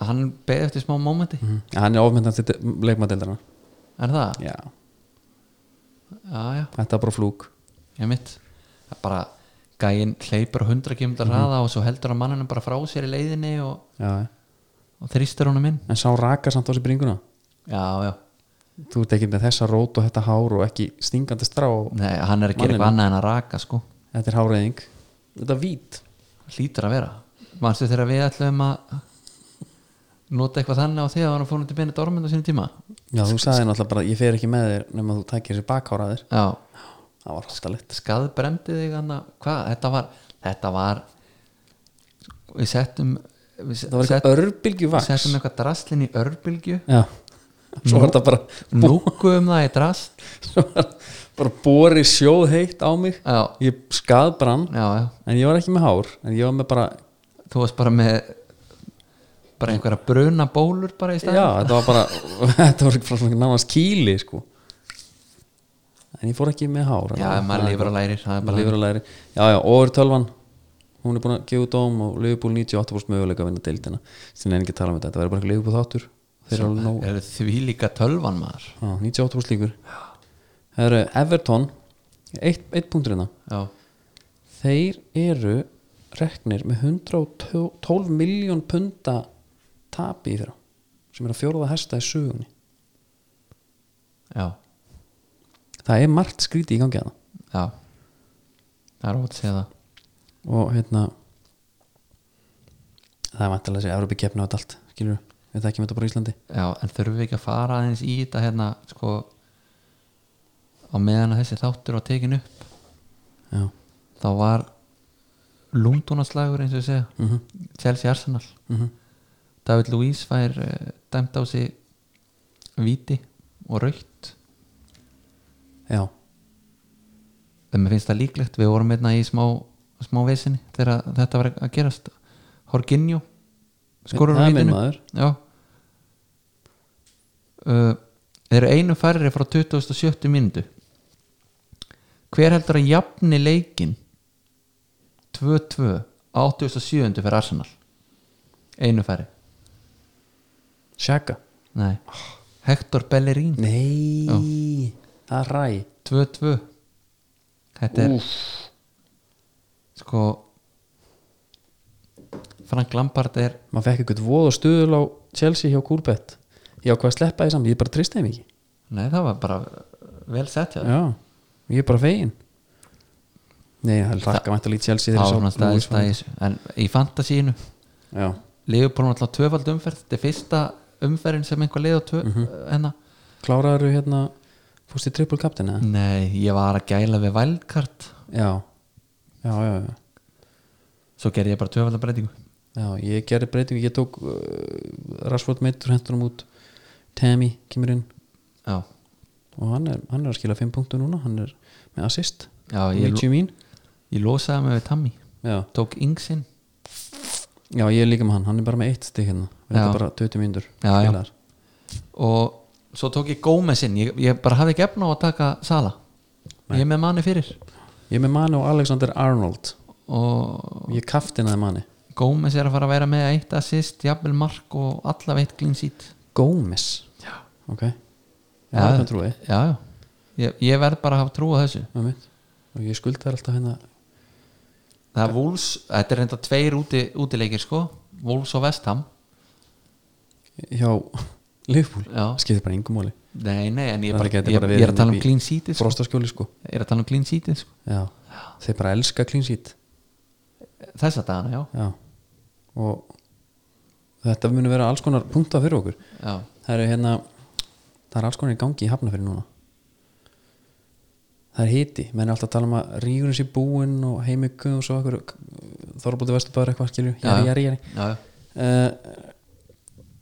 að hann beði eftir smá mómenti Mhm. hann er ofmyndan til leikmadeildarna er það? já, já, já, þetta er bara flúk ég mitt það er bara gæinn hleypur á 100 km Mhm. hraða og svo heldur hann manninu bara frá sér í leiðinni og, já. og þrýstir honum inn en sá raka samt á sér bringuna já, já, þú ert ekki með þessa rót og þetta hár og ekki stingandi strá og Nei, hann er að Manninn. gera eitthvað annað en að raka sko þetta er háreyðing þetta er vít hlýtur að vera mannstu þegar við ætlum að nota eitthvað þannig á því að hann fórum til Benedikt Ormund á sínum tíma já, þú sagði náttúrulega bara, ég fer ekki með þér nema þú tækir þessi bakháraðir já, það var hóttalegt skaðbremdi þig hann hvað, þetta var þetta var við settum við það var eitthvað örbylgju vaks settum eitthvað draslin í örbylgju já, svo var þetta bara núkuðum það í drast svo var bara bori sjóð heitt á mig já, ég skaðbrann já, já, en ég var ekki með hár en ég var með bara, þú varst bara með bara einhverja bruna bólur bara í já, staðin þetta var bara þetta var bara svona nánast kýli sko en ég fór ekki með hár já, maður lifur að lærir það er bara lifur að læri já, já, over tölvan hún er búin að gefa út dóm og Liverpool 98% möguleika að vinna deildina sem er ekki að tala um þetta, þetta verður bara eitthvað Liverpool þáttur þeir eru alveg nóg, er því líka tölvan maður já, 98% líkur það eru Everton eitt, eitt punktur hérna já, þeir eru reknir með 112 miljón punda tapi í þeirra sem er að fjóraða hesta í sögunni já, það er margt skríti í gangi að það já það er ótt að segja það og hérna það er vantilega þessi Európi keppni á þetta allt skilur við, við þekkjum þetta bara á Íslandi Já, en þurfum við ekki að fara aðeins í þetta hérna, sko á meðan að þessi þáttur var tekin upp já, þá var lungdunarslagur eins og ég segja, mhm, Chelsea Arsenal mhm David Luís fær uh, dæmt á sig viti og raukt já, en mér finnst það líklegt, við vorum einna í smá, smá vesinni þegar þetta var að gerast Jorginho skorur það á er minn vitinu maður Já uh, Þeir eru einu færri frá 2070 myndu Hver heldur að jafni leikin 2-2 á 87. fyrir Arsenal Einu færri Sjaka Nei Hector Bellerín nei, það er ræ 2-2 Þetta er Úff. sko Frank Lampard er maður fekk eitthvað voð og stuðul á Chelsea hjá Kúrbett ég ákvað að sleppa því samt, ég bara trist þeim ekki Nei það var bara vel sett hjá þér. já, ég er bara fegin nei, það er takka mætt að lítið Chelsea Það þegar var ég sá svona Lewis staðist Van- að í þessu En í fantasíinu sko. já, Leopold var alltaf tvöfald umferð þetta er fyrsta umferðin sem einhver leið á tvö mm hennar kláraður hérna fórst í triple captain Mm. eða? nei, ég var að gæla við vældkart já, já, já, já svo gerði ég bara tvöfalda breytingu Já, ég gerði breytingu, ég tók uh, Rashford meittur hendurum út Tammy kemur inn já, og hann er, hann er að skila 5 punktu núna hann er með assist já ég, lo- 90 mín ég losaði mig við Tammy já. tók Ingsinn já, ég er líka með hann, hann er bara með eitt stig hérna við Já. erum bara 20 mínútur Já, já. spilaðar. og svo tók ég Gómezinn ég, ég bara hafði ekki efna á að taka Sala ég er með manni fyrir ég er með Mani og Alexander Arnold og ég kaftinaði Mani Gómez er að fara að vera með eitt assist, jafnvel mark og alla veitt glín sít Gómez já, ok, já, það er trúið já, já. Ég, ég verð bara að hafa trú á þessu Það er mitt. og ég skulda þær alltaf hérna Það er Wolves, þetta er reynda tveir úti, útileikir sko Wolves og Vestham hjá Liverpool Já. skiptir bara yngum máli Nei, nei, en ég, Það bara, gæti ég, bara ég er verið að tala um upp í- clean seatið sko. frostaskjóli sko Ég er að tala um clean seatið sko. já. þeir bara elska clean sheet Þessa dagana, já, já. og þetta munu vera alls konar punktar fyrir okkur já. það eru hérna það er alls konar í gangi í hafnafyrir núna það er hiti menn er alltaf að tala um að rígurinn sé búinn og heimiku og svo okkur Þorbóti Vesturbæður eitthvað skilju jari, jari, jari. Já, já. Uh,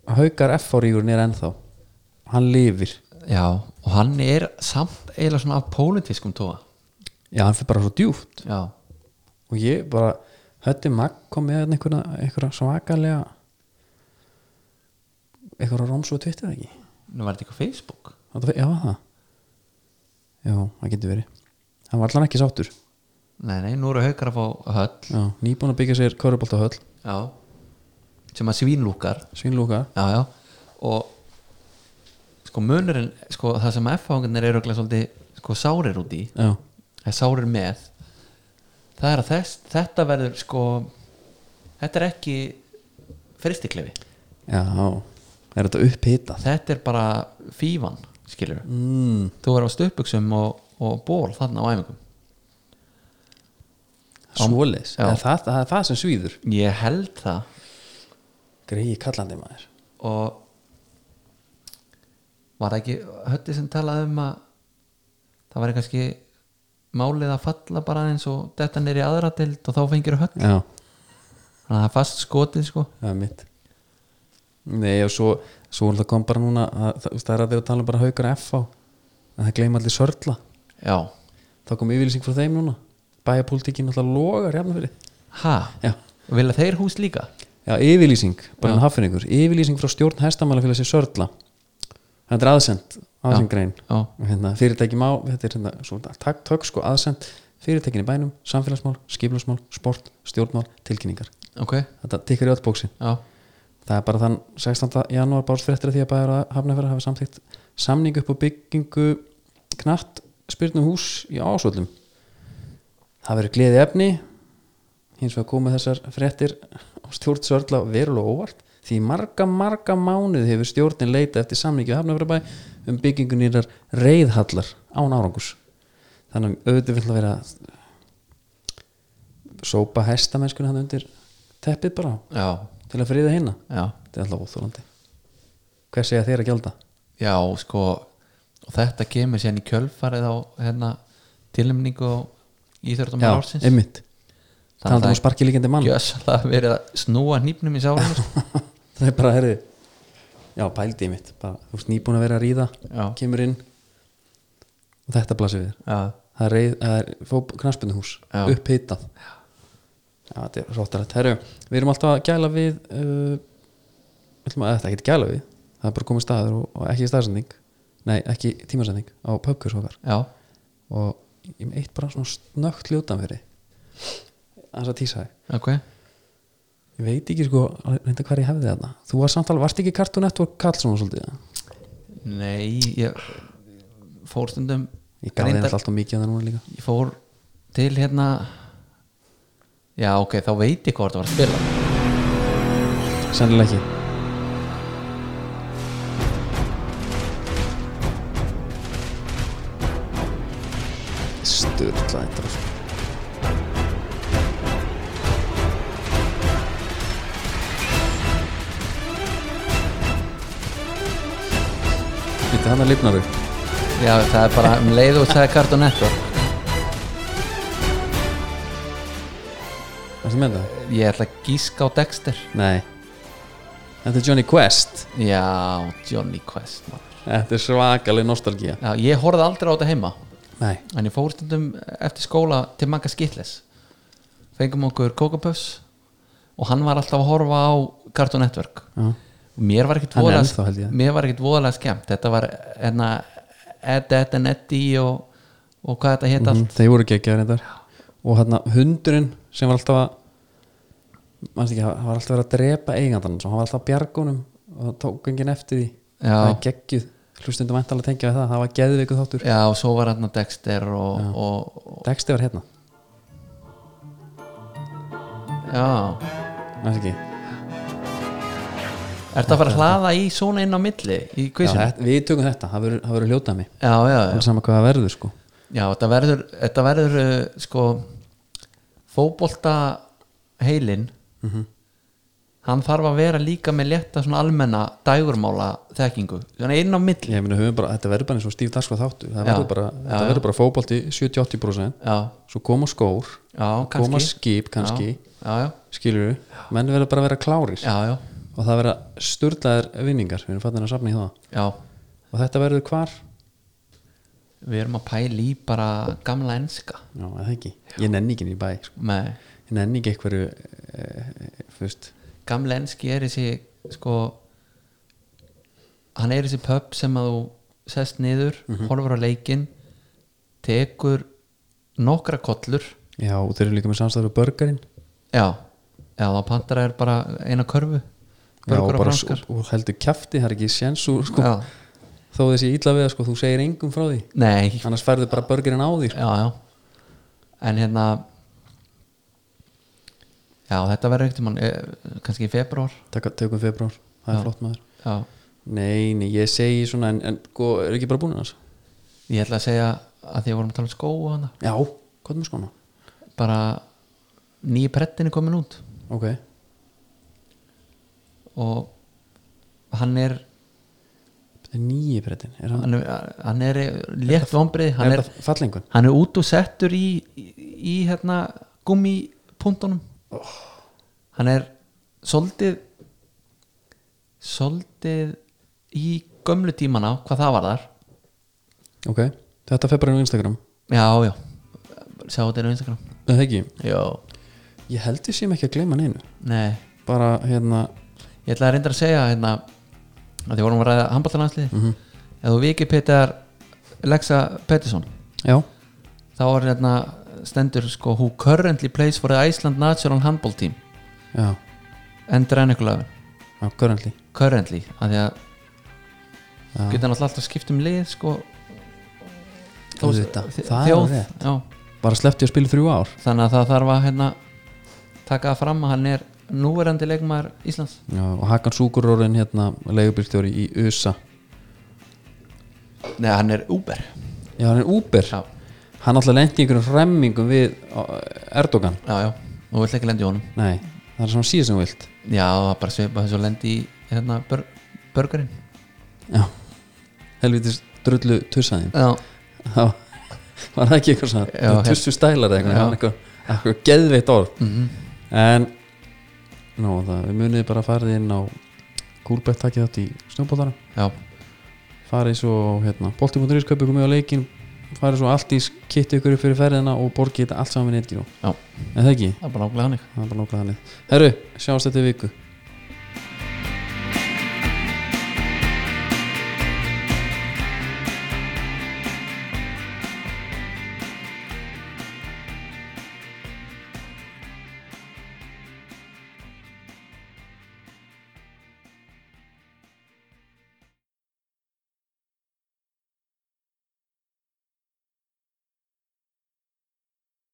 Haukar F á rígurinn er ennþá hann lifir já, og hann er samt eiginlega svona af pólitískum tóa já hann fyrir bara svo djúft Já, og ég bara hötti Magg kom með þarna einhverja, einhverja svakalega einhverja rómsu og tvittir ekki nú var þetta eitthvað Facebook Var það- já það já það getur verið hann var allan ekki sáttur Nei, nei, nú eru haukar að fá höll já, nýbúin að byggja sér körubolt á höll Já, sem að svínlúkar Svínlúkar já, já. og sko munurinn sko, það sem F-fangarnir eru örugglega svolítið sko, sárir út í Já, það er sárir með það er að þess, þetta verður sko þetta er ekki fristiklefi já Er þetta upphitað? þetta er bara fífan skilur Mm. þú verður á stöpuksum og, og ból þarna á æfingum Svoleiðis Já. það, er það, það er það sem svíður ég held það Greiði kallandi maður og var það ekki hötti sem talaði um að það væri kannski málið að falla bara eins og þetta nýri aðra dild og þá fengir höll Já, þannig að það er fast skotið sko það er mitt Nei og svo Svo er það kom bara núna að, það, það er að þeir tala um bara haukar F á að það gleyma allir sörla já, þá kom yfirlýsing frá þeim núna bæjarpólitíkin alltaf logar hérna fyrir ha, já, vilja þeir hús líka já yfirlýsing, bara hann hafferingur yfirlýsing frá stjórn hestamælafélags í Sörla þetta er aðsend, aðsend grein já, hérna, fyrirtæki má, þetta er hérna, svo, takk, takk sko aðsend, fyrirtækin í bænum samfélagsmál, skiplasmál, sport, stjórnmál tilkynningar, ok, þetta tikkar í öll bóksin já það er bara þann 16. janúar bárst fréttir af því að bæjar að hafnafæra hafa samþýtt samning upp á byggingu knatt spyrnuhús í ásvöldum það verður gleði efni hins vegar komu þessar fréttir á stjórn Sörla verulega óvart því í marga marga mánuð hefur stjórnin leita eftir samningi við hafnafærabæ um byggingu nýrar reyðhallar án árangus þannig að auðvitað vil að vera sópa hestamennskunni hann undir teppið bara já, til að friða hinna já, Þetta er alltaf óþólandi Hver segja þeir að gjalda? já, sko og þetta kemur sérna í kjölfarið á hérna tilnæmningu í þörðum ársins einmitt þannig Talandum að um sparki líkandi mann það gjössalega verið að snúa hnípnum í sárinu sko. Það er bara, herri Já, pældi ég mitt bara, Þú veist, nýbúin að vera að ríða já, Kemur inn Og þetta blasir við þér já Það er, reið- það er fóp knaspunuhús Já. Upphitað Já, þetta er róttarætt Herru, við erum alltaf að gæla við uh, ætlum að Þetta er ekki gæla við Það er bara komið staður og, og ekki staðsending Nei, ekki tímasending Á pubkurs okkar Já, og ég með eitt bara svona snögt ljótan fyrir þess að tísa þig ok ég veit ekki sko reynda hvað ég hefði þarna þú var samtala, varst ekki Cartoon Network Karlsson og svolítið eða? Nei, ég fór stundum ég gaf þér Reyndar- alltaf mikið að það núna líka Ég fór til hérna Já, ok, þá veit ég hvað það var að spila sennilega ekki styrla þetta sko. Þetta hann að lifnar upp Já, það er bara um leið og það er Cartoon Network Varstu með það? Ég ætla að gíska á Dexter Nei Þetta er Johnny Quest Já, Johnny Quest maður. Þetta er svakaleg nostalgía Já, ég horfði aldrei á þetta heima Nei En ég fór stundum eftir skóla til Magga Skittles Fengum okkur kókapöfs Og hann var alltaf að horfa á Cartoon Network Já. og mér var ekkit Hann er voðalega ennþá, held ég. mér var ekkit voðalega skemmt þetta var enna Ed, Ed and Eddie og, og hvað þetta hétt allt Mhm, Þeir voru geggjaðar reyndar Og hérna hundurinn sem var alltaf að Manst ekki, hann var alltaf að vera að drepa eigandann Svo hann var alltaf að bjargunum Og það tók enginn eftir því Já. Það er geggjuð Hlustundum ætla að tengja við það Það var geðveiku þáttur já og svo var hérna Dexter og, og, og Dexti var hérna já, Manst ekki ertu að fara að hlaða í svona inn á milli í Já, kvísinu já, þetta- Við tökum þetta, það verður- það verður hljótað mig já, já, Það já, er sama hvað það verður sko þetta verður þetta verður uh, sko fótbolta heilin hann þarf að vera líka með létta svona almenna dægurmála þekkingu, þannig inn á milli Ég meina, höfum bara, þetta verður bara eins og stíf dagskvað þáttur Það Já. verður bara, Já, þetta já. verður bara fótbolti 70-80% já, svo koma skór, já, koma kannski skip kannski, já, já, já. skilur við menn verður bara að vera klárir já, já, og það verða sturlaðir vinningar við erum fattin að safna í það já og þetta verður hvar, við erum að pæla í bara gamla enska já eða ekki ég nenni ekki niður í bæ, sko. með ég nenni ekki einhverju eh, eh, fyrst, gamla enski er þessi sko hann er þessi pub sem að þú sest niður, Mhm. horfur á leikin tekur nokkra kollur já og þeir eru líka með samstæður og börgarinn já, já þá pantara er bara eina körfu Já, og Börgur og bara franskar. og- og heldur kjafti, það er ekki sjensu sko, já. þó þessi ítla við það, sko, þú segir engum frá því Nei, annars færðu bara börgirinn á því sko. já, já en hérna já, þetta verður einhvern tímann eh, kannski í februar Taka, tökum februar, það er Já. flott maður já. nei, nei, ég segi svona en, en sko, er ekki bara búin að það ég ætla að segja að því að vorum að tala um skó og hana já, sko, hvað er með skona? bara nýja prettin er komin út ok, og hann er þetta er nýji brettin er hann, hann er, hann er létt vombrið hann, er er- það fallengun? hann er út og settur í, í, í hérna gummipuntunum Oh. hann er soldið soldið í gömlu tímana hvað það var þar ok, þetta fer bara inn á Instagram já, já, sjá þetta er á Instagram er það ekki, já, ég held ég sem ekki að gleyma neinu nei bara hérna, ég ætla að reynda að segja hérna að því vorum að ræða handballtarlanslið mm -hmm. ef þú vikið Petar Lexa Pettersson já þá er hérna stendur sko who currently plays for the Iceland National Handball Team já, endur enn ykkur löfum já, currently currently að því að Já. geta náttúrulega alltaf skipt um lið sko Auðvitað, þ- það er þjóð, alveg rétt. já, bara sleppti að spila þrjú ár þannig að það þarf að hérna taka það fram að hann er núverandi leikmaður Íslands já, og Hakan Súkurórin hérna leigubílstjóri í USA Nei, hann er Uber já, hann er Uber Já, hann alltaf lendi í einhverjum remmingum við uh, Erdogan já, já, og vill ekki lendi í honum nei, það er svona síðan sem þú vilt Já, það er bara svipa þess að lendi í hérna bör, börgarinn já, helvitis drullu tussaðin Já, já, var það ekki eitthvað Já, svona hér- tussu stælar eða eitthvað, Já. hann eitthvað, eitthvað geðveitt orð Mhm. en nú, það, við munið bara farið inn á Kúlbett takkið þátt í snjóbóttara já, farið svo hérna, bolti.is kaupið ykkur með á leikin farið svo allt í kitti ykkur upp fyrir ferðina og borgið þetta allt saman í netgíru já en það ekki, Það er bara ákveðlega hannig það er bara nóglega þannig herru, sjáumst þetta í viku